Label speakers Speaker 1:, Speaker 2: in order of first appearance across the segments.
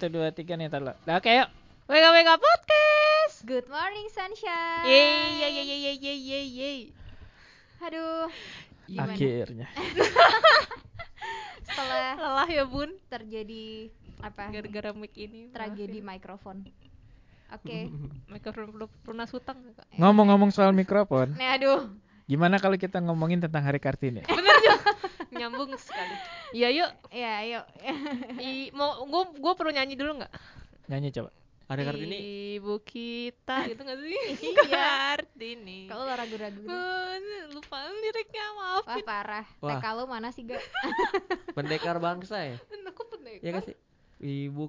Speaker 1: Satu, dua, tiga nih, tar lo. Nah, oke yuk. Wake up, wake up podcast.
Speaker 2: Good morning sunshine.
Speaker 1: Yeay, yeay, yeay, yeay, yeay, yeay, yeay.
Speaker 2: Aduh. Gimana?
Speaker 1: Akhirnya.
Speaker 2: Setelah
Speaker 3: Lelah ya bun
Speaker 2: terjadi Ah. apa?
Speaker 3: Gara-gara mic ini
Speaker 2: tragedi mikrofon. Oke.
Speaker 3: Mikrofon lu lunas hutang gak, Kak?
Speaker 1: Ngomong-ngomong soal mikrofon,
Speaker 2: Nih aduh.
Speaker 1: gimana kalau kita ngomongin tentang Hari Kartini?
Speaker 3: Nyambung sekali Iya yuk
Speaker 2: Ya, ayo.
Speaker 3: I, mau gua, gua perlu nyanyi dulu gak?
Speaker 1: Nyanyi coba.
Speaker 4: Hari Kartini
Speaker 3: Ibu kita gitu gak sih?
Speaker 2: Iya.
Speaker 3: Kartini
Speaker 2: Kalau lo ragu-ragu. gitu.
Speaker 3: Bun, lupa liriknya maaf
Speaker 2: Wah, parah.
Speaker 4: Wah.
Speaker 2: TK lo mana sih, Gak?
Speaker 4: pendekar bangsa ya?
Speaker 3: Aku pendek
Speaker 4: Ya gak sih? Ibu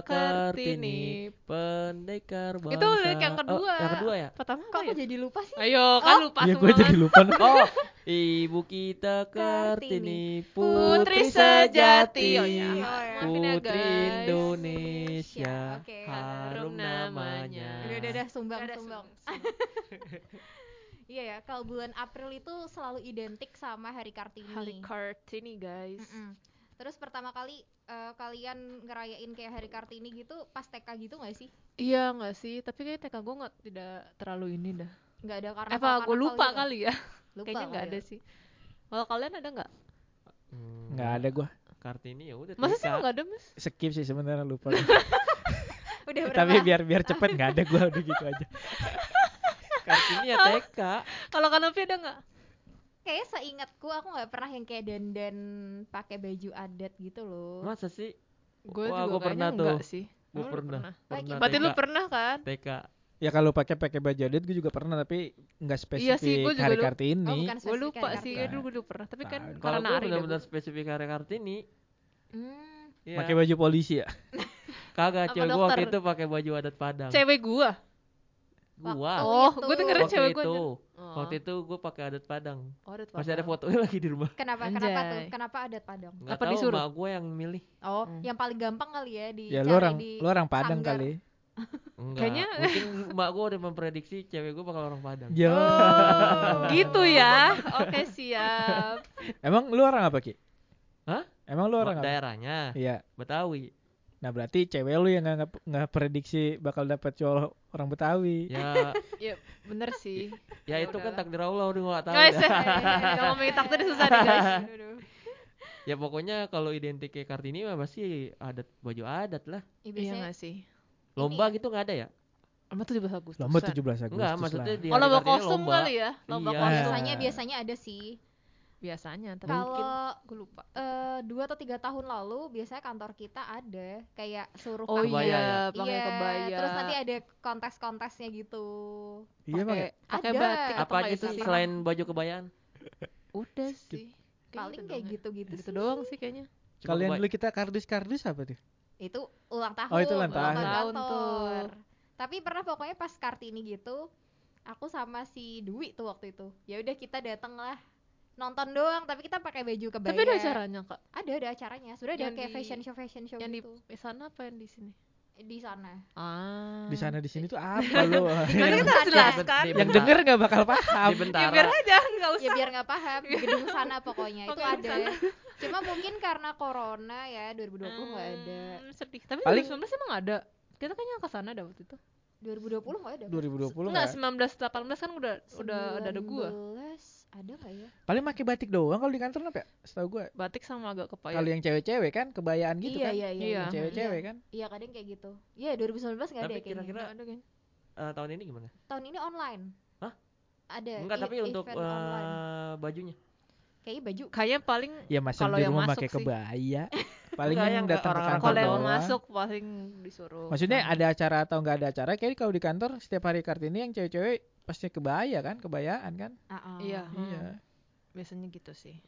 Speaker 3: Ta Kartini,
Speaker 4: Kartini, pendekar bangsa.
Speaker 3: Itu lirik yang kedua
Speaker 4: Oh, yang kedua ya?
Speaker 3: Pertama
Speaker 2: Kok
Speaker 3: apa
Speaker 2: aku
Speaker 3: ya?
Speaker 2: jadi lupa sih? Oh.
Speaker 3: Ayo, kan lupa
Speaker 1: Iya, gue
Speaker 3: semua
Speaker 1: jadi
Speaker 3: kan.
Speaker 1: lupa. nih.
Speaker 4: Oh, Ibu kita Kartini, putri sejati.
Speaker 3: Oh ya, maafin ya,
Speaker 4: Putri
Speaker 3: guys. Ya,
Speaker 4: Indonesia,
Speaker 2: Oke.
Speaker 4: harum namanya.
Speaker 2: Udah, udah, udah, sumbang,
Speaker 3: Ada
Speaker 2: sumbang.
Speaker 3: sumbang.
Speaker 2: Iya ya, kalau bulan April itu selalu identik sama Hari Kartini.
Speaker 3: Hari Kartini guys.
Speaker 2: Mm-mm. Terus pertama kali eh, kalian ngerayain kayak Hari Kartini gitu pas TK gitu gak sih?
Speaker 3: Iya nggak sih, tapi kayaknya TK gue nggak tidak terlalu ini dah.
Speaker 2: Nggak ada gitu. karena
Speaker 3: Apa gue lupa kali ya?
Speaker 2: Lupa
Speaker 3: kayaknya nggak ada sih. Kalau kalian ada nggak?
Speaker 4: Hmm,
Speaker 1: Nggak ada gua.
Speaker 4: Kartini ya udah.
Speaker 3: Masa sih
Speaker 4: TK.
Speaker 3: lu nggak ada mas?
Speaker 1: Skip sih sebenarnya lupa.
Speaker 2: Udah Iya, berapa?
Speaker 1: Tapi biar biar cepet nggak ada gua udah gitu aja.
Speaker 4: Kartini ya TK.
Speaker 3: Kalau Kanopi ada nggak?
Speaker 2: Kayaknya seingatku aku nggak pernah yang kayak dandan pakai baju adat gitu loh.
Speaker 4: Masa sih?
Speaker 3: Gue juga
Speaker 4: Wah, gua
Speaker 3: kayaknya
Speaker 4: pernah tuh.
Speaker 3: nggak sih.
Speaker 4: Gue
Speaker 3: Oh, lu
Speaker 4: pernah.
Speaker 2: Lagi.
Speaker 4: Pernah
Speaker 3: Berarti lu
Speaker 4: TK.
Speaker 3: pernah kan?
Speaker 4: TK.
Speaker 1: Ya kalau pakai pakai baju adat gue juga pernah tapi nggak spesifik
Speaker 3: Iya sih, gua juga
Speaker 1: Hari
Speaker 3: lupa.
Speaker 2: Oh,
Speaker 1: Kartini.
Speaker 2: bukan
Speaker 3: Gue
Speaker 2: spesifik
Speaker 3: lupa
Speaker 2: Hari
Speaker 3: sih,
Speaker 2: Kartini.
Speaker 3: ya dulu gue dulu pernah. Tapi kan
Speaker 1: Tahu.
Speaker 4: Kalau
Speaker 3: karena
Speaker 4: gue
Speaker 3: Ari dah
Speaker 4: benar-benar
Speaker 3: gua.
Speaker 4: spesifik hari Kartini.
Speaker 2: Hmm.
Speaker 4: Iya.
Speaker 1: Pakai baju polisi ya.
Speaker 4: Kagak,
Speaker 3: Sama
Speaker 4: cewek gua waktu
Speaker 3: dokter.
Speaker 4: itu pakai baju adat Padang.
Speaker 3: Cewek gua.
Speaker 4: Gua.
Speaker 2: Waktu
Speaker 3: Oh,
Speaker 2: itu.
Speaker 3: gue dengerin
Speaker 4: Ah. Waktu
Speaker 3: cewek gua.
Speaker 4: itu,
Speaker 3: anjir.
Speaker 4: waktu itu gua pakai adat Padang.
Speaker 3: Oh, adat
Speaker 4: Masih ada
Speaker 3: Padang.
Speaker 4: fotonya lagi di rumah.
Speaker 2: Kenapa? Kenapa tuh?
Speaker 3: Anjay.
Speaker 2: Kenapa adat Padang?
Speaker 4: Nggak
Speaker 3: Apa
Speaker 4: tahu,
Speaker 3: disuruh?
Speaker 4: mak gua yang milih.
Speaker 2: Oh,
Speaker 3: Hmm.
Speaker 2: yang paling gampang kali ya di
Speaker 1: Ya
Speaker 2: cari
Speaker 1: lu orang
Speaker 2: di
Speaker 1: lu orang Padang
Speaker 2: Sanggar.
Speaker 1: kali.
Speaker 4: Enggak.
Speaker 3: Kayaknya-
Speaker 4: Mungkin mak gua udah memprediksi cewek gua bakal orang Padang.
Speaker 1: Yo.
Speaker 3: Oh, gitu ya. Oke, siap.
Speaker 1: Emang lu orang apa Ki?
Speaker 4: Hah?
Speaker 1: Emang lu
Speaker 4: Mak
Speaker 1: orang apa?
Speaker 4: daerahnya
Speaker 1: Iya.
Speaker 4: Betawi.
Speaker 1: Nah berarti cewek lu yang nggak nggak prediksi bakal dapet cowok orang Betawi.
Speaker 4: Ya,
Speaker 3: Ya, bener sih.
Speaker 4: ya
Speaker 3: Ya
Speaker 4: itu kan
Speaker 3: udahlah.
Speaker 4: takdir Allah udah gua nggak tahu.
Speaker 3: Guys,
Speaker 4: dah.
Speaker 3: kalau ngomongin takdir susah nih guys. Aduh.
Speaker 4: Ya pokoknya kalau identik kayak Kartini mah pasti adat baju adat lah.
Speaker 3: Iya
Speaker 2: Ya, biasanya
Speaker 3: nggak sih?
Speaker 4: Lomba gitu nggak ada ya?
Speaker 3: Lama 17 Agustus.
Speaker 1: Lomba 17 Agustus
Speaker 4: Enggak, maksudnya
Speaker 1: lah.
Speaker 4: di
Speaker 3: Oh,
Speaker 4: hari
Speaker 3: lomba
Speaker 4: Kartini
Speaker 3: kostum
Speaker 4: iya, lomba.
Speaker 3: kali ya? Lomba
Speaker 4: Iya.
Speaker 3: kostum. Iya.
Speaker 2: biasanya
Speaker 1: Nah.
Speaker 2: biasanya ada sih.
Speaker 3: Biasanya, tapi mungkin
Speaker 2: Kalau
Speaker 3: gue lupa.
Speaker 2: eh, dua atau tiga tahun lalu biasanya kantor kita ada kayak suruh
Speaker 3: Oh
Speaker 2: pakai-
Speaker 4: Kebaya ya?
Speaker 3: iya, pakai
Speaker 2: Iya,
Speaker 3: kebaya.
Speaker 2: Terus nanti ada kontes-kontesnya gitu.
Speaker 1: Iya gitu emang ya?
Speaker 3: pakai pakai
Speaker 2: Ada.
Speaker 3: batik atau
Speaker 4: Apa
Speaker 3: nggak
Speaker 4: aja
Speaker 3: itu
Speaker 4: sih
Speaker 3: sih?
Speaker 4: selain baju kebayaan?
Speaker 3: Udah sih.
Speaker 2: Paling kayak gitu-gitu
Speaker 3: Gitu
Speaker 2: sih.
Speaker 3: doang sih kayaknya.
Speaker 4: Cuma
Speaker 1: Kalian
Speaker 4: kebaya-
Speaker 1: dulu kita kardus-kardus apa tuh?
Speaker 3: Iya.
Speaker 2: Itu ulang tahun.
Speaker 1: Oh, itu ulang tahun.
Speaker 3: Ulang tahun
Speaker 2: kantor. Tapi pernah pokoknya pas Kartini gitu, aku sama si Dwi tuh waktu itu. Ya udah kita dateng lah nonton doang tapi kita pakai baju kebaya
Speaker 3: Tapi ada acaranya, Kak.
Speaker 2: ada ada acaranya sudah ada
Speaker 3: Yang
Speaker 2: kayak
Speaker 3: di-
Speaker 2: fashion show fashion show
Speaker 3: Yang di
Speaker 2: gitu
Speaker 3: eh, sana apa yang di sini?
Speaker 2: di, sana
Speaker 3: Ah.
Speaker 1: Di sana di sini tuh apa lu?
Speaker 3: Kan
Speaker 2: Yang-
Speaker 3: kita jelaskan.
Speaker 4: Di- di-
Speaker 1: yang
Speaker 4: bentar.
Speaker 1: denger nggak bakal paham.
Speaker 4: Iya, di
Speaker 3: Ya
Speaker 4: eh, Bentara.
Speaker 3: biar aja, nggak
Speaker 2: ya
Speaker 3: usah.
Speaker 2: biar nggak paham di gedung sana pokoknya itu
Speaker 3: Oke, di sana.
Speaker 2: ada cuma mungkin karena corona ya 2020 nggak ada
Speaker 3: Hmm, Sedih. Tapi
Speaker 1: Paling-
Speaker 3: 2019 emang ada. Kita kayaknya ke sana ada waktu itu.
Speaker 2: 2020 nggak ada
Speaker 1: 2020
Speaker 3: Enggak,
Speaker 1: nggak?
Speaker 3: 19 18 kan udah udah ada ada gua.
Speaker 2: 19, ada nggak ya
Speaker 1: Paling pakai batik doang kalau di kantor apa ya? Setahu gue.
Speaker 3: Batik sama agak kebaya.
Speaker 1: Kalau yang cewek-cewek kan kebayaan gitu
Speaker 2: iya,
Speaker 1: kan.
Speaker 2: iya iya
Speaker 3: Oh, Iya.
Speaker 1: Yang Cewek-cewek kan.
Speaker 2: iya kadang kayak gitu iya 2019 nggak ada
Speaker 4: Tapi
Speaker 2: ya kayaknya
Speaker 4: kira-kira
Speaker 3: Nggak ada kayaknya.
Speaker 4: eh, tahun ini gimana?
Speaker 2: tahun ini online
Speaker 4: Hah?
Speaker 2: ada
Speaker 4: Enggak,
Speaker 2: Ya, i-
Speaker 4: tapi untuk
Speaker 2: event online
Speaker 4: eh, bajunya.
Speaker 2: kayaknya baju
Speaker 3: Kayaknya paling
Speaker 1: Ya masa
Speaker 3: Iya. Kalau
Speaker 1: di
Speaker 3: yang
Speaker 1: rumah
Speaker 3: masuk
Speaker 1: pakai
Speaker 3: sih.
Speaker 1: kebaya. Paling
Speaker 4: Enggak,
Speaker 1: yang
Speaker 4: yang
Speaker 1: datang ke
Speaker 4: orang-orang
Speaker 1: kantor
Speaker 3: kalau
Speaker 4: Kantor
Speaker 3: yang
Speaker 1: doang.
Speaker 3: masuk paling disuruh.
Speaker 1: Maksudnya
Speaker 3: Nah,
Speaker 1: ada acara atau nggak ada acara? Kayaknya kalau di kantor setiap hari Kartini yang cewek-cewek pasti kebaya kan, kebayaan kan?
Speaker 2: Ah, ah.
Speaker 3: Iya.
Speaker 1: Iya.
Speaker 3: hmm. Biasanya gitu sih.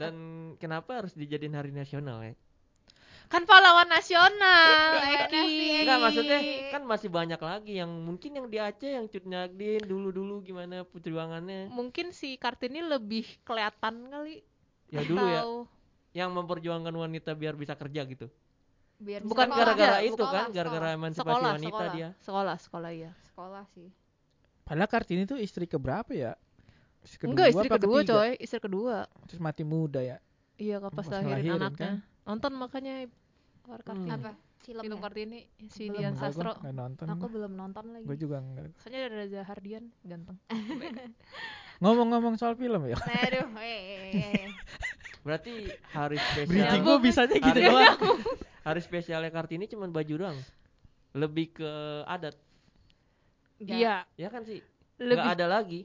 Speaker 4: Dan kenapa harus dijadiin hari nasional ya?
Speaker 3: Kan pahlawan nasional,
Speaker 2: Gimana
Speaker 3: Eki.
Speaker 2: sih, Eki?
Speaker 4: Enggak, maksudnya
Speaker 2: Ih.
Speaker 4: kan masih banyak lagi yang mungkin yang di Aceh yang Cut Nyagdin dulu-dulu gimana perjuangannya.
Speaker 3: mungkin si Kartini lebih kelihatan kali.
Speaker 4: Ya dulu ya,
Speaker 3: Atau-
Speaker 4: yang memperjuangkan wanita biar bisa kerja gitu.
Speaker 2: biar bisa
Speaker 3: Bukan
Speaker 2: sekolah.
Speaker 4: gara-gara
Speaker 3: kerja,
Speaker 4: itu
Speaker 2: sekolah,
Speaker 4: kan, gara-gara
Speaker 2: sekolah.
Speaker 4: emansipasi
Speaker 3: sekolah,
Speaker 4: wanita
Speaker 3: sekolah,
Speaker 4: dia.
Speaker 3: sekolah, sekolah ya.
Speaker 2: sekolah sih
Speaker 1: Padahal Kartini tuh istri keberapa ya? Istri
Speaker 3: Enggak istri
Speaker 1: apa
Speaker 3: kedua
Speaker 1: ketiga?
Speaker 3: coy, istri kedua.
Speaker 1: Terus mati muda ya.
Speaker 3: Iya kok pas
Speaker 1: Pas
Speaker 3: lahirin
Speaker 1: ngelahirin,
Speaker 4: Hmm.
Speaker 3: anaknya. Nonton makanya War Kartini. Iya.
Speaker 2: apa Film
Speaker 3: film
Speaker 2: ya?
Speaker 3: Kartini si
Speaker 2: Hmm. Belum.
Speaker 3: Dian
Speaker 2: Enggak,
Speaker 3: Iya, Sastro Iya.
Speaker 1: Gue nonton.
Speaker 2: Aku belum nonton lagi.
Speaker 1: Gue juga enggak.
Speaker 3: soalnya ada Reza Hardian ganteng
Speaker 1: Ngomong-ngomong soal film ya.
Speaker 2: Aduh, eh, eh, eh, eh.
Speaker 4: Berarti hari
Speaker 3: Iya.
Speaker 1: Berita
Speaker 4: spesial
Speaker 1: gue bisanya gitu
Speaker 4: Hari-
Speaker 1: doang.
Speaker 4: hari spesialnya Kartini cuman baju doang. Lebih ke adat.
Speaker 2: Nggak.
Speaker 3: iya
Speaker 4: Ya kan sih? Nggak
Speaker 3: lebih
Speaker 4: ada lagi.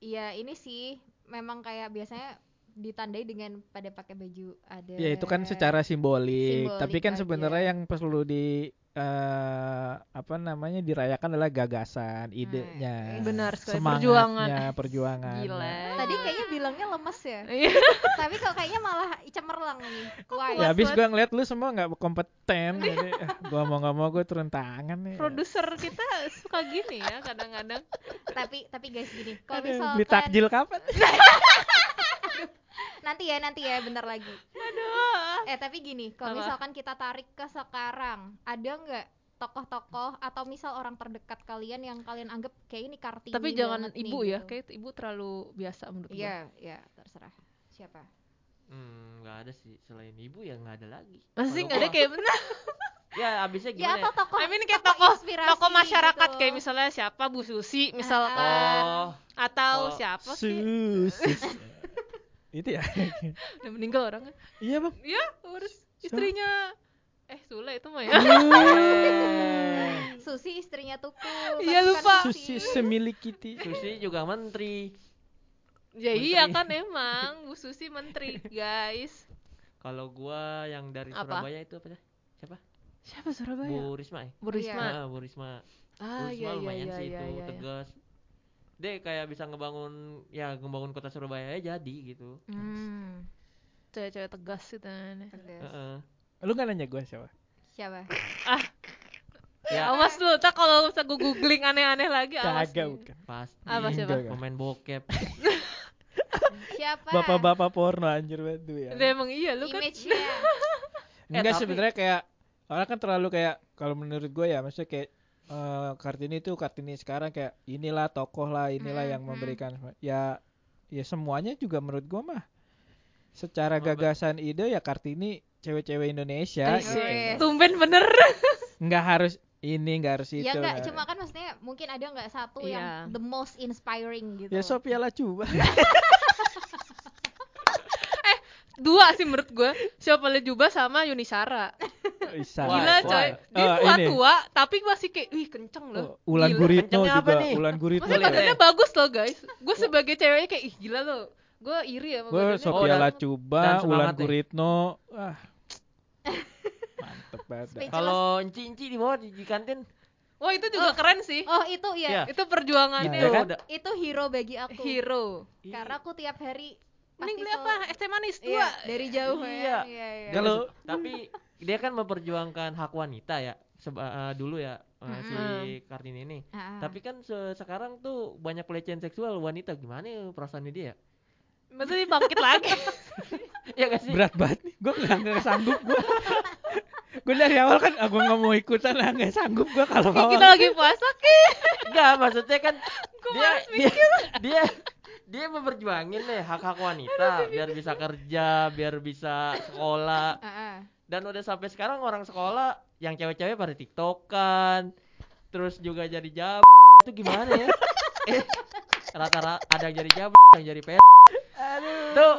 Speaker 2: Iya, ini sih memang kayak biasanya ditandai dengan pada pakai baju ada.
Speaker 4: Iya,
Speaker 1: Ya itu
Speaker 3: iya.
Speaker 1: kan secara simbolik,
Speaker 2: Simbolik
Speaker 1: tapi kan
Speaker 2: aja.
Speaker 1: sebenarnya yang perlu di eh, apa namanya dirayakan adalah gagasan, idenya,
Speaker 3: Hmm. Iya, benar sekali,
Speaker 1: semangatnya, perjuangan.
Speaker 3: gila
Speaker 2: Tadi kayaknya bilangnya lemes ya.
Speaker 3: Iya.
Speaker 2: Tapi kok kayaknya malah cemerlang nih. Why?
Speaker 1: Ya habis gua
Speaker 3: Buat-
Speaker 1: ngeliat lu semua nggak kompeten, jadi eh, gua mau nggak mau gue turun tangan
Speaker 3: Iya.
Speaker 1: nih.
Speaker 3: produser kita suka gini ya kadang-kadang
Speaker 2: tapi tapi guys gini, kalau
Speaker 1: Aduh,
Speaker 2: misalkan
Speaker 1: beli takjil kapan?
Speaker 2: nanti ya nanti ya bentar lagi.
Speaker 3: aduh
Speaker 2: Eh tapi gini,
Speaker 3: Apa?
Speaker 2: kalau misalkan kita tarik ke sekarang, ada nggak tokoh-tokoh atau misal orang terdekat kalian yang kalian anggap kayak ini kartini
Speaker 3: tapi jangan
Speaker 2: banget nih,
Speaker 3: ibu ya
Speaker 2: gitu.
Speaker 3: kayak gitu ibu terlalu biasa menurut
Speaker 2: Iya,
Speaker 3: gua
Speaker 2: iya, terserah. Siapa?
Speaker 4: Hmm, nggak ada sih. Selain ibu ya nggak ada lagi.
Speaker 3: masih
Speaker 4: Kalau
Speaker 3: nggak ada
Speaker 4: gua-
Speaker 3: kayak benar
Speaker 4: Ya abisnya
Speaker 2: Ya
Speaker 4: gimana?
Speaker 2: atau tokoh
Speaker 3: I mean kayak tokoh
Speaker 2: inspirasi
Speaker 3: tokoh masyarakat
Speaker 2: gitu.
Speaker 3: kayak misalnya siapa Bu Susi
Speaker 4: ya?
Speaker 3: misalkan
Speaker 4: Oh,
Speaker 3: atau
Speaker 4: Oh,
Speaker 3: siapa sih
Speaker 1: Susus. itu ya.
Speaker 3: udah meninggal orangnya
Speaker 1: iya bang.
Speaker 3: ya urus
Speaker 1: Siapa?
Speaker 3: istrinya eh Sule itu mah ya
Speaker 2: Susi istrinya Tuku.
Speaker 3: Iya,
Speaker 2: tapi
Speaker 3: lupa.
Speaker 2: kan
Speaker 1: Susi semilik Kitty.
Speaker 4: Susi juga menteri.
Speaker 3: ya iya
Speaker 4: Menteri.
Speaker 3: kan emang Bu Susi menteri guys
Speaker 4: Kalau gua yang dari
Speaker 3: Apa?
Speaker 4: Surabaya itu apa ya? Siapa?
Speaker 3: siapa Surabaya
Speaker 4: Bu Risma. ya?
Speaker 3: Bu Risma
Speaker 4: Ah, Bu Risma.
Speaker 3: ah
Speaker 4: Terus
Speaker 3: iya
Speaker 4: mah
Speaker 3: iya
Speaker 4: lumayan
Speaker 3: iya
Speaker 4: sih
Speaker 3: iya
Speaker 4: itu
Speaker 3: iya, iya.
Speaker 4: tegas. Dia kayak bisa ngebangun ya ngebangun kota Surabaya ya jadi gitu.
Speaker 2: Hmm,
Speaker 3: cewek-cewek tegas gitu aneh.
Speaker 2: tegas.
Speaker 4: Heeh.
Speaker 1: Lu nggak nanya gue siapa?
Speaker 2: Siapa?
Speaker 3: Ah,
Speaker 4: Ya
Speaker 3: awas Oh, lu tak kalau bisa gue googling aneh-aneh lagi awas
Speaker 1: Kagak
Speaker 3: nih.
Speaker 1: bukan. Iya,
Speaker 4: pasti
Speaker 3: Apa, siapa?
Speaker 4: pemain bokep.
Speaker 2: Siapa?
Speaker 1: Bapak-bapak porno anjir banget tuh ya.
Speaker 3: Lah, emang iya lu kan
Speaker 2: Image-nya.
Speaker 1: Enggak
Speaker 4: tapi-
Speaker 1: sebenarnya kayak orang kan terlalu kayak kalau menurut gue ya maksudnya kayak eh, Kartini itu Kartini sekarang kayak inilah tokoh lah inilah
Speaker 2: Mm,
Speaker 1: yang
Speaker 2: mm.
Speaker 1: memberikan semua- ya ya semuanya juga menurut gue mah secara
Speaker 4: Sama, Mbak.
Speaker 1: gagasan ide ya Kartini cewek-cewek Indonesia
Speaker 3: Asik.
Speaker 1: gitu.
Speaker 2: Wes.
Speaker 3: tumben bener
Speaker 1: nggak harus ini nggak harus itu
Speaker 2: ya enggak,
Speaker 1: nggak-
Speaker 2: cuma kan maksudnya mungkin ada nggak satu yang
Speaker 3: Iya.
Speaker 2: the most inspiring gitu.
Speaker 1: ya Sophia lah coba
Speaker 3: dua sih menurut gue siapa Lejuba sama Yuni Sara
Speaker 1: bisa
Speaker 4: Why?
Speaker 3: gila coy
Speaker 4: Why?
Speaker 3: dia
Speaker 1: Oh,
Speaker 3: tua
Speaker 1: ini.
Speaker 3: tua tapi masih kayak wih kenceng loh
Speaker 1: Oh, Ulan
Speaker 3: Gila.
Speaker 1: Guritno
Speaker 4: Kencengnya apa
Speaker 1: juga
Speaker 4: nih?
Speaker 1: Ulan Guritno
Speaker 3: Maksudnya
Speaker 4: Boleh,
Speaker 1: ya
Speaker 3: badannya bagus loh guys Gue sebagai ceweknya kayak Ih gila loh Gue iri sama
Speaker 1: gue
Speaker 3: badannya
Speaker 1: Sophia
Speaker 4: dan- dan
Speaker 1: Lacuba
Speaker 4: semangat ya.
Speaker 1: Ulan
Speaker 4: nih.
Speaker 1: Guritno ah mantep banget dah.
Speaker 2: Speechless.
Speaker 4: Kalau enci-enci di bawah di, di kantin
Speaker 3: Wah itu juga keren sih
Speaker 2: Oh, itu ya.
Speaker 4: Iya.
Speaker 3: Itu perjuangannya
Speaker 1: Iya kan?
Speaker 4: udah
Speaker 2: Itu hero bagi aku.
Speaker 3: Hero Iya.
Speaker 2: Karena aku tiap hari
Speaker 3: Mending
Speaker 2: pasti
Speaker 3: beli
Speaker 2: selalu-
Speaker 3: apa? Es teh manis dua
Speaker 2: Iya, dari jauh
Speaker 4: Iya.
Speaker 2: ya. Iya, iya.
Speaker 1: Kalau-
Speaker 4: tapi dia kan memperjuangkan hak wanita ya seba- eh, dulu ya eh, si
Speaker 3: Mm-mm.
Speaker 4: Kartini ini.
Speaker 2: Ah, ah.
Speaker 4: Tapi kan se- sekarang tuh banyak pelecehan seksual wanita gimana ya perasaannya dia ya?
Speaker 3: Maksudnya bangkit lagi
Speaker 4: Iya gak sih?
Speaker 1: berat banget nih gue nggak nggak sanggup gue gue dari awal kan ah, gue nggak mau ikutan ah, nggak sanggup gue kalau
Speaker 3: Kayak
Speaker 1: mau
Speaker 3: Kita lagi puasa kayak
Speaker 4: Enggak, maksudnya kan
Speaker 3: Gua
Speaker 4: dia, dia, dia dia memperjuangin nih hak-hak wanita biar bisa kerja, biar bisa sekolah.
Speaker 2: Ah, ah.
Speaker 4: Dan udah sampai sekarang orang sekolah yang cewek-cewek pada tiktokan, terus juga jadi jab itu gimana ya? Eh, Rata-rata ada yang jadi jab, yang jadi pes. Tuh,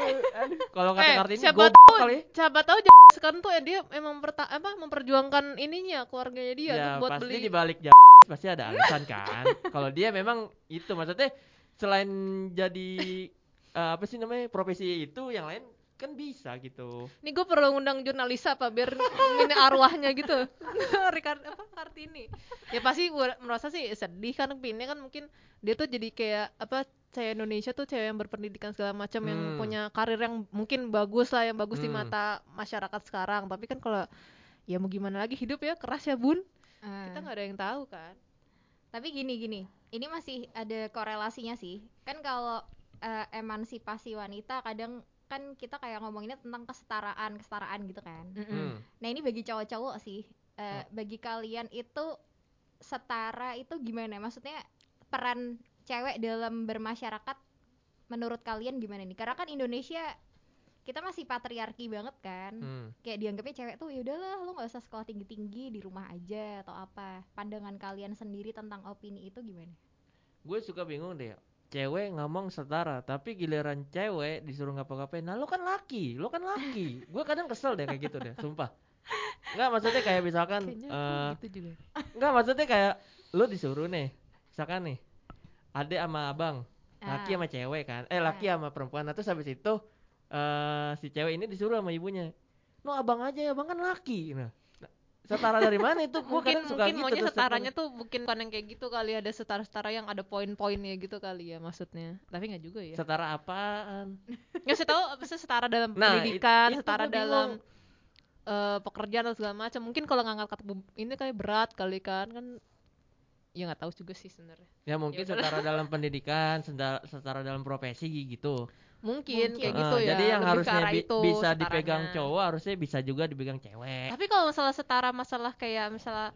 Speaker 4: kalau kata
Speaker 3: Eh,
Speaker 4: Kartini
Speaker 3: siapa
Speaker 4: godok
Speaker 3: tahu
Speaker 4: kali. ya.
Speaker 3: Siapa tahu sekarang tuh ya dia emang perta apa memperjuangkan ininya keluarganya dia
Speaker 4: ya,
Speaker 3: Iya, tuh buat
Speaker 4: pasti
Speaker 3: beli
Speaker 4: dibalik jab pasti ada alasan kan. Kalau dia memang itu maksudnya selain jadi eh, apa sih namanya profesi itu yang lain kan bisa gitu.
Speaker 3: Nih gue perlu ngundang jurnalis apa biar ini arwahnya gitu. Rikard apa Kartini. Ya pasti gue merasa sih sedih kan pinnya kan mungkin dia tuh jadi kayak apa cewek Indonesia tuh cewek yang berpendidikan segala macam yang
Speaker 4: Hmm.
Speaker 3: punya karir yang mungkin bagus lah yang bagus di
Speaker 4: Hmm.
Speaker 3: mata masyarakat sekarang. Tapi kan kalau ya mau gimana lagi hidup ya keras ya bun.
Speaker 2: Ah.
Speaker 4: Eh.
Speaker 3: Kita nggak ada yang tahu kan.
Speaker 2: Tapi gini gini, ini masih ada korelasinya sih. Kan kalau eh, emansipasi wanita kadang kan kita kayak ngomonginnya tentang kesetaraan, kesetaraan gitu kan.
Speaker 4: Hmm.
Speaker 2: Nah, ini bagi cowok-cowok sih.
Speaker 1: Nah.
Speaker 2: Eh, bagi kalian itu setara itu gimana? Maksudnya peran cewek dalam bermasyarakat menurut kalian gimana nih? Karena kan Indonesia kita masih patriarki banget kan
Speaker 4: Hmm.
Speaker 2: kayak dianggapnya cewek tuh ya udahlah lo nggak usah sekolah tinggi tinggi di rumah aja atau apa pandangan kalian sendiri tentang opini itu gimana
Speaker 4: Gue suka bingung deh. Cewek ngomong setara, tapi giliran cewek disuruh ngapa-ngapain. Nah, lo kan laki, lo kan laki. Gue kadang kesel deh kayak gitu deh, sumpah. Enggak maksudnya kayak misalkan
Speaker 3: Kayaknya aku
Speaker 4: eh,
Speaker 3: gitu juga.
Speaker 4: Enggak maksudnya kayak lu disuruh nih, misalkan nih, adek sama abang, laki
Speaker 2: Ah,
Speaker 4: sama cewek kan, eh laki
Speaker 3: Ah.
Speaker 4: sama perempuan, nah, terus habis itu eh si cewek ini disuruh sama ibunya, no abang aja abang kan laki, nah setara dari mana itu? Gua
Speaker 3: mungkin
Speaker 4: kadang suka
Speaker 3: mungkin
Speaker 4: gitu
Speaker 3: maunya
Speaker 4: tuh
Speaker 3: setaranya tuh mungkin bukan yang kayak gitu kali ada setara-setara yang ada poin-poinnya gitu kali ya maksudnya tapi nggak juga ya
Speaker 4: setara apaan?
Speaker 3: nggak sih tahu apa sih setara dalam
Speaker 4: Nah, it-
Speaker 3: pendidikan
Speaker 4: itu
Speaker 3: setara
Speaker 4: gua bingung.
Speaker 3: dalam eh, pekerjaan atau segala macam mungkin kalau ngangkat kata be- ini kayak berat kali kan kan ya nggak tahu juga sih sebenarnya
Speaker 4: Ya mungkin
Speaker 3: Yaudah.
Speaker 4: setara dalam pendidikan, setara, setara dalam profesi gitu.
Speaker 3: mungkin, kayak
Speaker 2: Mungkin.
Speaker 3: gitu
Speaker 4: Eh,
Speaker 3: ya
Speaker 4: Jadi yang
Speaker 3: lebih ke
Speaker 4: harusnya
Speaker 3: arah
Speaker 4: bi-
Speaker 3: itu
Speaker 4: bisa
Speaker 3: setaranya.
Speaker 4: dipegang cowok harusnya bisa juga dipegang cewek.
Speaker 3: tapi kalau masalah setara masalah kayak masalah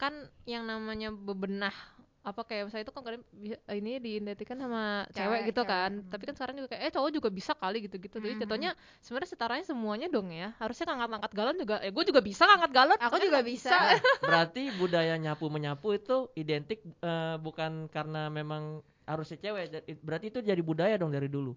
Speaker 3: kan yang namanya bebenah apa kayak misalnya itu kan kadang bi- ini diidentikan sama cewek,
Speaker 2: Cewek,
Speaker 3: gitu
Speaker 2: cewek,
Speaker 3: kan
Speaker 2: mm.
Speaker 3: tapi kan sekarang juga kayak eh cowok juga bisa kali gitu gitu jadi
Speaker 2: Mm,
Speaker 3: contohnya sebenarnya setaranya semuanya dong ya harusnya ngangkat ngangkat galon juga eh gue juga bisa ngangkat galon
Speaker 2: aku
Speaker 3: Kan
Speaker 2: juga
Speaker 3: nggak
Speaker 2: bisa
Speaker 4: Berarti budaya nyapu menyapu itu identik eh, bukan karena memang harusnya cewek. da- it- Berarti itu jadi budaya dong dari dulu.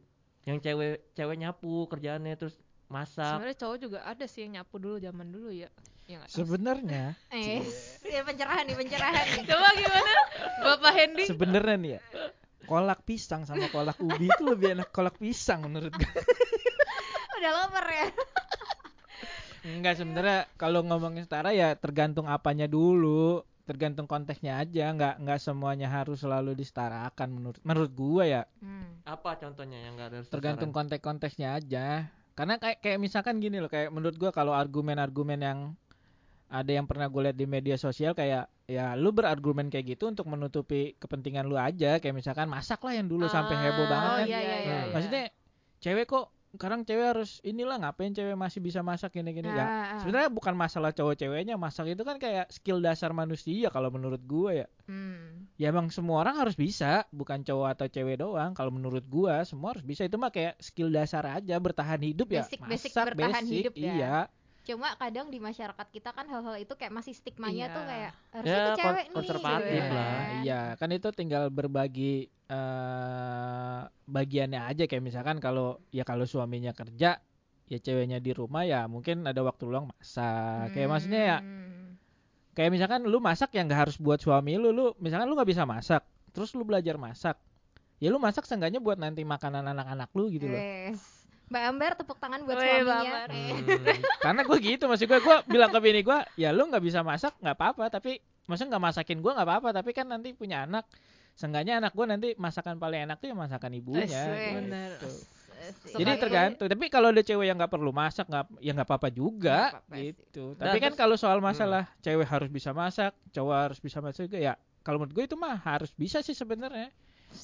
Speaker 4: Yang cewek cewek nyapu kerjaannya terus masak.
Speaker 3: sebenarnya cowok juga ada sih yang nyapu dulu zaman dulu ya ya nggak tahu sih.
Speaker 1: Sebenarnya,
Speaker 2: eh ya pencerahan nih pencerahan nih
Speaker 3: coba gimana bapak Hendy
Speaker 1: sebenarnya nih ya. Kolak pisang sama kolak ubi itu lebih enak kolak pisang menurut gue.
Speaker 2: udah lapar ya
Speaker 1: Enggak sebenarnya kalau ngomongin setara ya tergantung apanya dulu, tergantung konteksnya aja. Enggak enggak semuanya harus selalu disetarakan menurut menurut gua ya.
Speaker 2: Hmm.
Speaker 4: Apa contohnya yang enggak ada Hmm,
Speaker 1: tergantung konteks-konteksnya aja karena kayak kayak misalkan gini loh kayak menurut gua kalau argumen-argumen yang ada yang pernah gue lihat di media sosial kayak ya lu berargumen kayak gitu untuk menutupi kepentingan lu aja kayak misalkan masak lah yang dulu sampai
Speaker 3: Ah.
Speaker 1: heboh banget
Speaker 2: oh
Speaker 1: kan
Speaker 2: iya, iya, iya,
Speaker 1: Nah, maksudnya cewek kok sekarang cewek harus inilah ngapain cewek masih bisa masak gini-gini ya
Speaker 2: Ah,
Speaker 1: sebenarnya bukan masalah cowok ceweknya masak itu kan kayak skill dasar manusia kalau menurut gua ya
Speaker 2: Hmm.
Speaker 1: ya emang semua orang harus bisa bukan cowok atau cewek doang kalau menurut gua semua harus bisa itu mah kayak skill dasar aja bertahan hidup ya
Speaker 2: Basic- basic
Speaker 1: masak
Speaker 2: bertahan
Speaker 1: basic
Speaker 2: hidup ya.
Speaker 1: iya
Speaker 2: cuma kadang di masyarakat kita kan hal-hal itu kayak masih stigmanya
Speaker 3: Iya.
Speaker 2: tuh kayak harusnya
Speaker 4: Ya,
Speaker 2: itu
Speaker 4: kon-
Speaker 2: cewek nih
Speaker 4: konservatif
Speaker 2: gitu
Speaker 4: lah.
Speaker 2: kan.
Speaker 1: iya kan itu tinggal berbagi eh bagiannya aja kayak misalkan kalau ya kalau suaminya kerja ya ceweknya di rumah ya mungkin ada waktu luang masak kayak maksudnya ya
Speaker 2: Hmm.
Speaker 1: kayak misalkan lu masak yang nggak harus buat suami lu lu misalkan lu nggak bisa masak terus lu belajar masak ya lu masak seenggaknya buat nanti makanan anak-anak lu gitu loh
Speaker 2: Wes. Mbak Ambar tepuk tangan buat
Speaker 3: Weh, Mbak
Speaker 2: suaminya.
Speaker 3: Ambar.
Speaker 2: Eh,
Speaker 1: karena gue gitu maksud gue gue bilang ke bini gue ya lu nggak bisa masak nggak apa-apa tapi maksudnya nggak masakin gue nggak apa-apa tapi kan nanti punya anak seenggaknya anak gue nanti masakan paling enak tuh ya masakan ibunya
Speaker 2: Wes,
Speaker 3: bener.
Speaker 1: gitu.
Speaker 3: Suka
Speaker 1: jadi
Speaker 3: itu.
Speaker 1: tergantung tapi kalau ada cewek yang nggak perlu masak nggak ya nggak apa-apa juga
Speaker 2: Nggak apa-apa sih. Hmm.
Speaker 1: gitu
Speaker 4: Dan
Speaker 1: tapi kan
Speaker 4: terus-
Speaker 1: kalau soal masalah cewek harus bisa masak cowok harus bisa masak juga ya kalau menurut gue itu mah harus bisa sih sebenarnya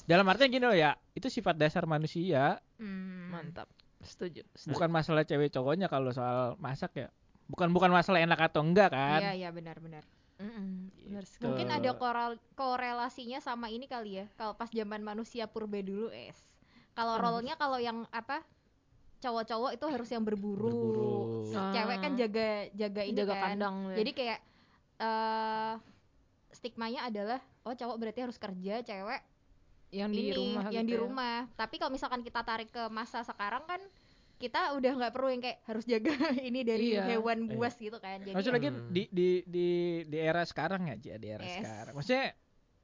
Speaker 1: dalam artian gini loh ya itu sifat dasar manusia
Speaker 2: hmm.
Speaker 3: mantap setuju, setuju.
Speaker 1: bukan masalah cewek cowoknya kalau soal masak ya bukan bukan masalah enak atau enggak kan
Speaker 2: Iya, iya benar-benar.
Speaker 3: Mm-mm, bener sekali.
Speaker 2: Mungkin
Speaker 1: Betul.
Speaker 2: ada koral- korelasinya sama ini kali ya. Kalau pas zaman manusia purba dulu es.
Speaker 1: Hmm.
Speaker 2: Kalau
Speaker 3: Apa?
Speaker 2: role-nya kalau yang apa? Cowok-cowok itu harus yang berburu.
Speaker 1: Berburu.
Speaker 2: Si Cewek kan
Speaker 3: Ah.
Speaker 2: jaga jaga ini
Speaker 3: jaga
Speaker 2: kan.
Speaker 3: kandang ya.
Speaker 2: Jadi kayak eh stigmanya adalah oh cowok berarti harus kerja, cewek
Speaker 3: yang
Speaker 2: ini
Speaker 3: di rumah
Speaker 2: yang
Speaker 3: gitu
Speaker 2: di
Speaker 3: ya.
Speaker 2: rumah. Tapi kalau misalkan kita tarik ke masa sekarang kan kita udah nggak perlu yang kayak harus jaga ini dari
Speaker 3: Iya.
Speaker 2: hewan buas gitu kan. Jadi
Speaker 1: Maksud lagi
Speaker 4: Hmm.
Speaker 1: di di di di era sekarang ya, Ji, di era
Speaker 2: Yes.
Speaker 1: sekarang. Maksudnya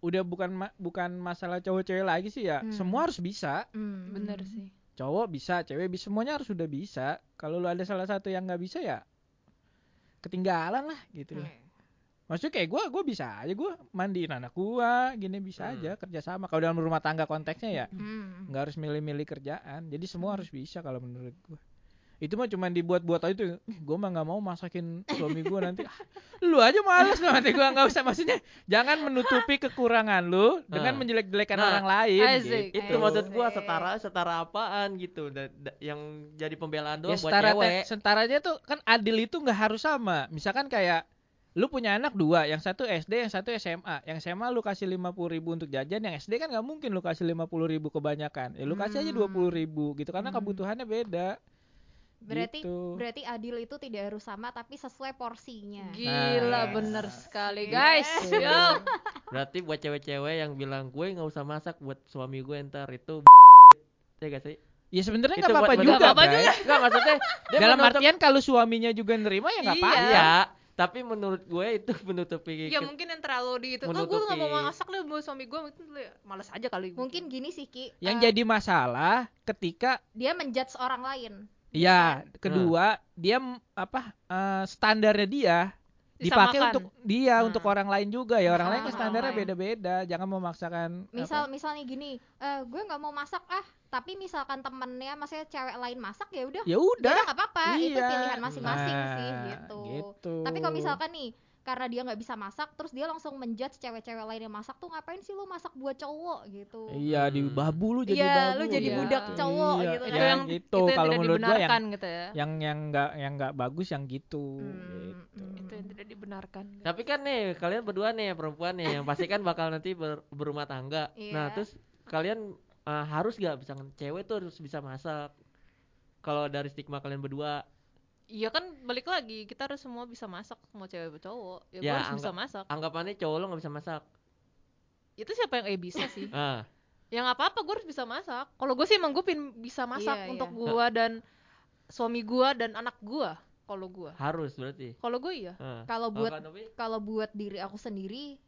Speaker 1: udah bukan ma- bukan masalah cowok-cewek lagi sih ya.
Speaker 2: Hmm.
Speaker 1: Semua harus bisa.
Speaker 2: Hmm,
Speaker 3: bener
Speaker 2: hmm.
Speaker 3: sih
Speaker 1: Cowok bisa, cewek bisa, semuanya harus udah bisa. Kalau lu ada salah satu yang nggak bisa ya ketinggalan lah gitu loh.
Speaker 2: Hmm.
Speaker 1: Maksudnya kayak gua gua bisa aja gua mandiin anak gua, gini bisa
Speaker 4: Hmm.
Speaker 1: aja kerjasama. Kalau dalam rumah tangga konteksnya ya
Speaker 2: Hmm.
Speaker 1: nggak harus milih-milih kerjaan. Jadi
Speaker 4: Hmm.
Speaker 1: semua harus bisa kalau menurut gua. Itu mah cuman dibuat-buat aja tuh. "Ih, Gua mah nggak mau masakin suami gua nanti. Ah, Lu aja males loh nanti gua nggak usah maksudnya. Jangan menutupi kekurangan lu dengan
Speaker 4: Nah.
Speaker 1: menjelek-jelekan
Speaker 4: Nah,
Speaker 1: orang lain gitu.
Speaker 3: asik.
Speaker 4: itu maksud gua setara setara apaan gitu da- da- yang jadi pembelaan
Speaker 1: Ya
Speaker 4: doang buat
Speaker 1: setara
Speaker 4: cewek.
Speaker 1: setaranya tuh kan adil itu nggak harus sama. Misalkan kayak lu punya anak dua, yang satu SD, yang satu SMA. Yang SMA lu kasih 50.000 ribu untuk jajan, yang SD kan nggak mungkin lu kasih 50.000 ribu kebanyakan. Ya lu kasih aja
Speaker 2: Hmm.
Speaker 1: 20.000 ribu gitu karena
Speaker 2: Hmm.
Speaker 1: kebutuhannya beda.
Speaker 2: Berarti
Speaker 1: Gitu.
Speaker 2: berarti adil itu tidak harus sama tapi sesuai
Speaker 4: Iya.
Speaker 2: porsinya.
Speaker 3: Gitu. Gila
Speaker 1: Nah.
Speaker 3: bener sekali guys.
Speaker 1: Tuh.
Speaker 3: Yo.
Speaker 4: Berarti buat cewek-cewek yang bilang gue nggak usah masak buat suami gue ntar itu ya gak sih?
Speaker 1: Ya sebenarnya
Speaker 4: Itu
Speaker 1: nggak apa-apa
Speaker 4: buat-
Speaker 1: juga,
Speaker 4: nggak apa-apa
Speaker 1: Bray.
Speaker 4: Enggak maksudnya dia
Speaker 1: Dalam
Speaker 4: menutup-
Speaker 1: artian kalau suaminya juga nerima ya nggak
Speaker 3: Iya.
Speaker 1: apa-apa.
Speaker 4: iya, tapi menurut gue itu menutupi
Speaker 3: Ya mungkin yang terlalu di itu. Oh gue nggak mau masak deh buat suami gue mungkin lu ya, males aja kali.
Speaker 2: Mungkin gini sih Ki.
Speaker 1: Yang
Speaker 2: eh,
Speaker 1: jadi masalah ketika
Speaker 2: dia menjudge orang lain.
Speaker 1: ya kedua dia m- apa eh, standarnya dia dipakai
Speaker 3: Disamakan.
Speaker 1: untuk dia
Speaker 3: Nah.
Speaker 1: untuk orang lain juga ya orang lain kan
Speaker 2: Sama
Speaker 1: standarnya
Speaker 3: orang lain.
Speaker 1: beda-beda jangan memaksakan apa.
Speaker 2: Nah, Misal misal nih gini, eh gue nggak mau masak ah, tapi misalkan temennya maksudnya cewek lain masak ya udah.
Speaker 1: ya
Speaker 2: Ya
Speaker 1: udah
Speaker 2: udah nggak apa-apa, itu
Speaker 1: Iya.
Speaker 2: pilihan masing-masing
Speaker 1: Nah,
Speaker 2: sih gitu.
Speaker 1: gitu.
Speaker 2: Tapi kalau misalkan nih karena dia nggak bisa masak, terus dia langsung menjudge cewek-cewek lain yang masak tuh ngapain sih lu masak buat cowok gitu.
Speaker 1: iya di babu lu jadi
Speaker 2: Iya,
Speaker 1: babu
Speaker 2: lu jadi
Speaker 1: gitu.
Speaker 2: budak cowok
Speaker 1: Iya,
Speaker 2: gitu kan.
Speaker 1: iya,
Speaker 3: Itu yang
Speaker 1: gitu
Speaker 3: itu yang
Speaker 1: kalau
Speaker 3: tidak
Speaker 1: menurut gua yang
Speaker 3: dibenarkan gitu ya.
Speaker 1: yang yang nggak yang nggak bagus yang gitu
Speaker 2: Hmm,
Speaker 1: gitu.
Speaker 2: hmm.
Speaker 3: Itu yang tidak dibenarkan.
Speaker 4: Tapi kan nih kalian berdua nih perempuan nih yang pasti kan bakal nanti ber- berumah tangga.
Speaker 2: Iya.
Speaker 4: Nah terus kalian eh, harus gak bisa cewek tuh harus bisa masak. Kalau dari stigma kalian berdua,
Speaker 3: Iya kan balik lagi kita harus semua bisa masak mau cewek mau cowok. Ya,
Speaker 4: Ya,
Speaker 3: gua harus bisa
Speaker 4: anggap-
Speaker 3: masak.
Speaker 4: anggapannya cowok lo gak bisa masak.
Speaker 3: Itu siapa yang eh bisa sih? Ya,
Speaker 4: Ah,
Speaker 3: yang apa apa gue harus bisa masak. Kalau gue sih emang gue pin bisa masak
Speaker 2: Iya,
Speaker 3: untuk
Speaker 2: iya.
Speaker 3: gua dan suami gua dan anak gua. Kalau gua,
Speaker 4: harus berarti.
Speaker 3: kalau gue iya.
Speaker 4: Ah.
Speaker 2: Kalau buat
Speaker 1: kan?
Speaker 4: Kak Novi?
Speaker 2: kalau buat diri aku sendiri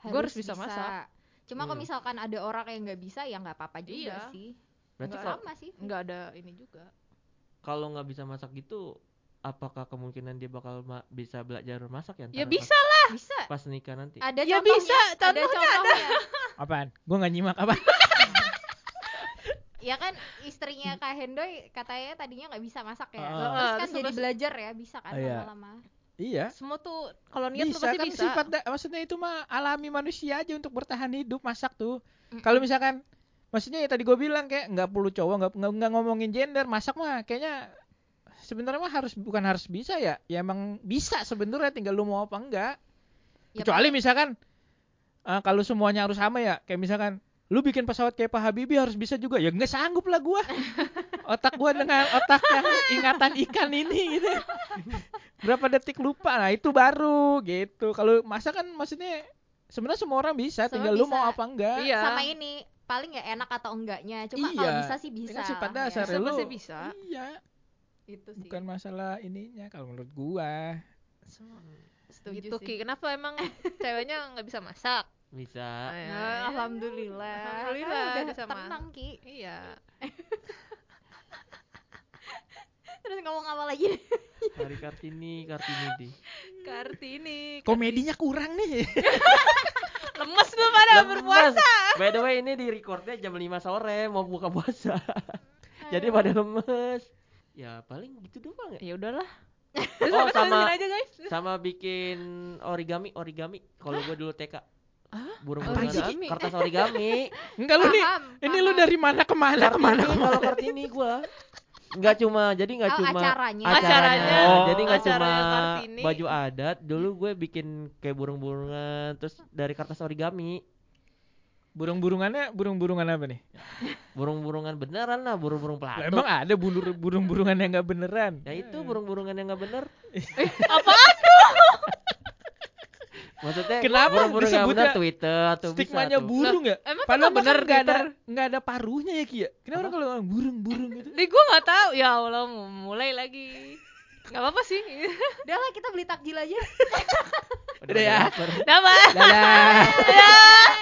Speaker 2: harus,
Speaker 3: Gua harus bisa masak.
Speaker 2: Cuma
Speaker 1: Iya.
Speaker 2: kalau
Speaker 4: Hmm.
Speaker 2: misalkan ada orang yang nggak bisa ya nggak apa-apa juga
Speaker 3: Iya.
Speaker 2: sih.
Speaker 4: berarti
Speaker 3: Nggak
Speaker 4: kalau-
Speaker 2: Sama sih.
Speaker 3: Nggak ada ini juga.
Speaker 4: kalau nggak bisa masak gitu, apakah kemungkinan dia bakal ma- bisa belajar masak ya?
Speaker 3: Ya
Speaker 4: ntar
Speaker 3: bisa lah.
Speaker 2: Bisa.
Speaker 4: Pas nikah nanti.
Speaker 2: Ada
Speaker 3: Ya
Speaker 2: contohnya.
Speaker 3: bisa,
Speaker 2: Ada contohnya.
Speaker 1: apaan gua nggak nyimak apa
Speaker 2: ya kan istrinya Kak Hendoy katanya tadinya nggak bisa masak ya.
Speaker 1: Ah.
Speaker 2: Terus
Speaker 3: Ah,
Speaker 2: kan
Speaker 3: terus
Speaker 2: jadi
Speaker 3: terus-
Speaker 2: belajar ya, bisa kan
Speaker 1: Ah, iya.
Speaker 2: lama-lama.
Speaker 1: iya
Speaker 3: Semua tuh kalau niat lu
Speaker 1: bisa
Speaker 3: pasti
Speaker 1: kan
Speaker 3: bisa. Iya,
Speaker 1: sifat da- maksudnya itu mah alami manusia aja untuk bertahan hidup masak tuh
Speaker 2: Mm-mm.
Speaker 1: kalau misalkan maksudnya ya tadi gue bilang kayak nggak perlu cowok nggak nggak- nggak ngomongin gender masak mah kayaknya sebenarnya mah harus bukan harus bisa ya ya emang bisa sebenarnya tinggal lu mau apa enggak
Speaker 2: Ya,
Speaker 1: kecuali
Speaker 2: paling-
Speaker 1: misalkan eh, kalau semuanya harus sama ya kayak misalkan lu bikin pesawat kayak Pak Habibie harus bisa juga ya nggak sanggup lah gua otak gua dengan otak yang ingatan ikan ini gitu berapa detik lupa nah itu baru gitu kalau masa kan maksudnya sebenarnya semua orang bisa
Speaker 2: Semua
Speaker 1: tinggal lu
Speaker 2: bisa.
Speaker 1: mau apa enggak
Speaker 3: Iya.
Speaker 2: sama ini paling ya enak atau enggaknya. Cuma kalau
Speaker 1: Iya.
Speaker 2: bisa sih
Speaker 1: Ini
Speaker 2: bisa. Gitu
Speaker 1: kan sifat
Speaker 2: lah ya.
Speaker 1: dasar
Speaker 3: Bisa
Speaker 1: ya, lu
Speaker 3: pasti bisa.
Speaker 1: iya
Speaker 3: Itu sih.
Speaker 1: bukan masalah ininya kalau menurut gua
Speaker 3: Semua.
Speaker 2: Setuju
Speaker 3: gitu
Speaker 2: sih.
Speaker 3: Ki. Kenapa emang
Speaker 1: Ah.
Speaker 3: ceweknya nggak bisa masak?
Speaker 4: Bisa.
Speaker 3: Ayo.
Speaker 2: Nah, alhamdulillah.
Speaker 3: iya. Alhamdulillah, bisa
Speaker 2: Kan udah
Speaker 3: masak.
Speaker 2: tenang Ki.
Speaker 3: Iya.
Speaker 2: Terus ngomong apa lagi?
Speaker 4: Hari Kartini, Kartini di.
Speaker 3: Kartini.
Speaker 1: komedinya kurang nih
Speaker 3: Lemes lu pada
Speaker 4: Lemes.
Speaker 3: berpuasa.
Speaker 4: By the way ini di recordnya jam 5 sore mau buka puasa. Jadi pada lemes. Ya paling gitu doang ya.
Speaker 3: Ya udahlah.
Speaker 4: Oh
Speaker 3: Terusin
Speaker 4: sama
Speaker 3: aja guys.
Speaker 4: sama bikin origami origami. Kalau gue dulu TK. Burung
Speaker 1: Apaan sih,
Speaker 4: burungan
Speaker 3: Ki?
Speaker 4: kertas origami.
Speaker 1: enggak lu nih
Speaker 2: Paham,
Speaker 1: ini
Speaker 2: paham.
Speaker 1: lu dari mana ke mana ke mana
Speaker 4: Kartini kalau Kartini gue nggak cuma jadi nggak
Speaker 2: Oh,
Speaker 4: cuma
Speaker 2: acaranya.
Speaker 4: acaranya
Speaker 1: Acaranya.
Speaker 4: Oh, jadi nggak cuma
Speaker 3: Acaranya Kartini.
Speaker 4: baju adat dulu gue bikin kayak burung-burungan terus dari kertas origami
Speaker 1: burung-burungannya burung-burungan apa nih
Speaker 4: burung-burungan beneran lah burung-burung
Speaker 1: Lah,
Speaker 4: pelatuk
Speaker 1: emang ada bulu- burung-burungan yang nggak beneran.
Speaker 4: ya itu burung-burungan yang nggak bener
Speaker 3: Apaan?
Speaker 4: maksudnya
Speaker 1: Kenapa
Speaker 4: burung-burung yang
Speaker 1: disebutnya
Speaker 4: bener Twitter atau
Speaker 1: Stigmanya
Speaker 4: bisa tuh.
Speaker 1: burung ya?
Speaker 3: Emang
Speaker 1: Padahal
Speaker 3: kenapa
Speaker 1: bener
Speaker 3: kan
Speaker 1: nggak ada
Speaker 3: Twitter?
Speaker 1: nggak ada paruhnya ya Kia. Kenapa orang kalau ngomong burung-burung gitu?
Speaker 3: Di gua nggak tahu. Ya Allah, mau mulai lagi. Gak apa-apa sih.
Speaker 2: Udah lah kita beli takjil aja.
Speaker 1: Udah ya.
Speaker 4: baper.
Speaker 3: Dadah.
Speaker 1: Dadah.
Speaker 3: Dadah.